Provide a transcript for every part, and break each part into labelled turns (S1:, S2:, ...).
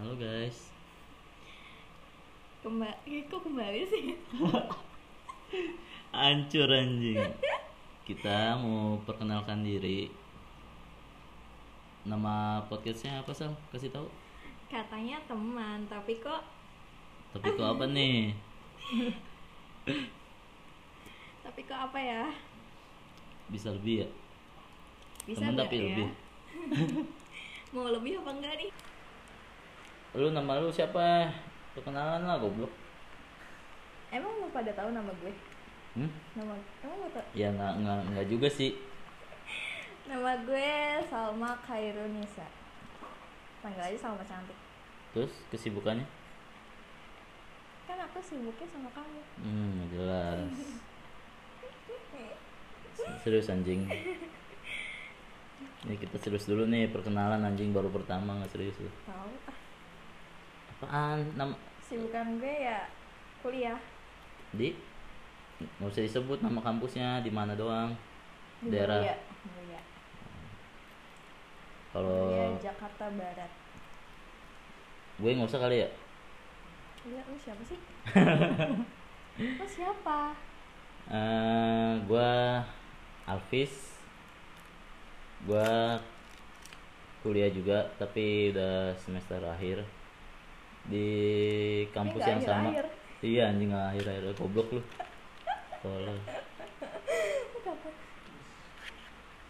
S1: Halo guys.
S2: kembali kok kembali sih
S1: Hancur anjing. Kita mau perkenalkan diri. Nama podcastnya apa Sal? Kasih tahu.
S2: katanya teman tapi kok
S1: Tapi kok apa nih?
S2: tapi kok apa ya
S1: Bisa lebih ya?
S2: bisa
S1: Teman
S2: nggak
S1: tapi
S2: ya
S1: lebih.
S2: mau lebih apa enggak nih
S1: Lu nama lu siapa? Perkenalan lah goblok.
S2: emang lu pada tahu nama gue
S1: Hmm?
S2: nama emang lu tau-
S1: Ya nggak nggak nggak juga sih.
S2: nama gue Salma Khairunisa panggil aja Salma cantik
S1: Terus kesibukannya?
S2: kan aku sibuknya sama kamu
S1: Hmm, jelas.
S2: Iya.
S1: Serius anjing. Ini kita serius dulu nih perkenalan anjing baru pertama nggak serius lu.
S2: tahu ah
S1: Apaan? Nama
S2: sibukan gue ya kuliah
S1: di nggak usah disebut nama kampusnya di mana doang.
S2: di
S1: Daerah.
S2: Mulia Mulia Mulia,
S1: Kalau
S2: Jakarta Barat
S1: gue nggak usah kali ya.
S2: Iya, lu siapa sih? lu siapa?
S1: Eh, gue Alvis. Gue kuliah juga tapi udah semester akhir di kampus
S2: nggak
S1: yang sama.
S2: akhir-akhir.
S1: Iya anjing nggak akhir-akhir goblok lu. Tolol.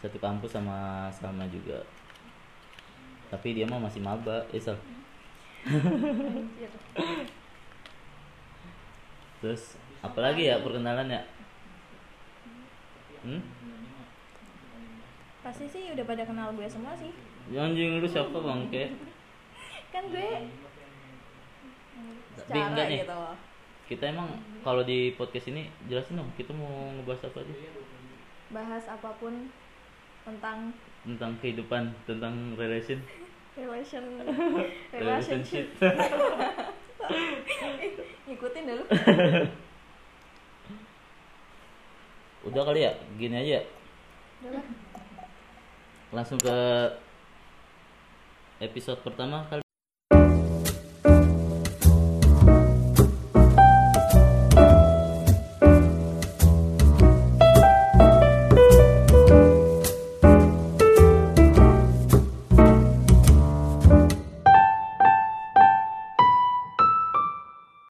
S1: Satu kampus sama sama juga. Tapi dia mah masih maba, eh, Sal.
S2: Anjir.
S1: Terus apalagi ya perkenalan ya? Hmm?
S2: Pasti sih udah pada kenal gue semua sih.
S1: Ya, Anjing lu siapa bangke?
S2: Kan gue
S1: Tapi
S2: secara
S1: enggak nih.
S2: gitu loh.
S1: Kita emang kalau di podcast ini jelasin dong kita mau ngebahas apa sih?
S2: Bahas apapun tentang
S1: Tentang kehidupan, tentang relation,
S2: relation relationship. Ngikutin dulu.
S1: Udah kali ya, gini aja.
S2: Udah lah.
S1: Langsung ke episode pertama kali.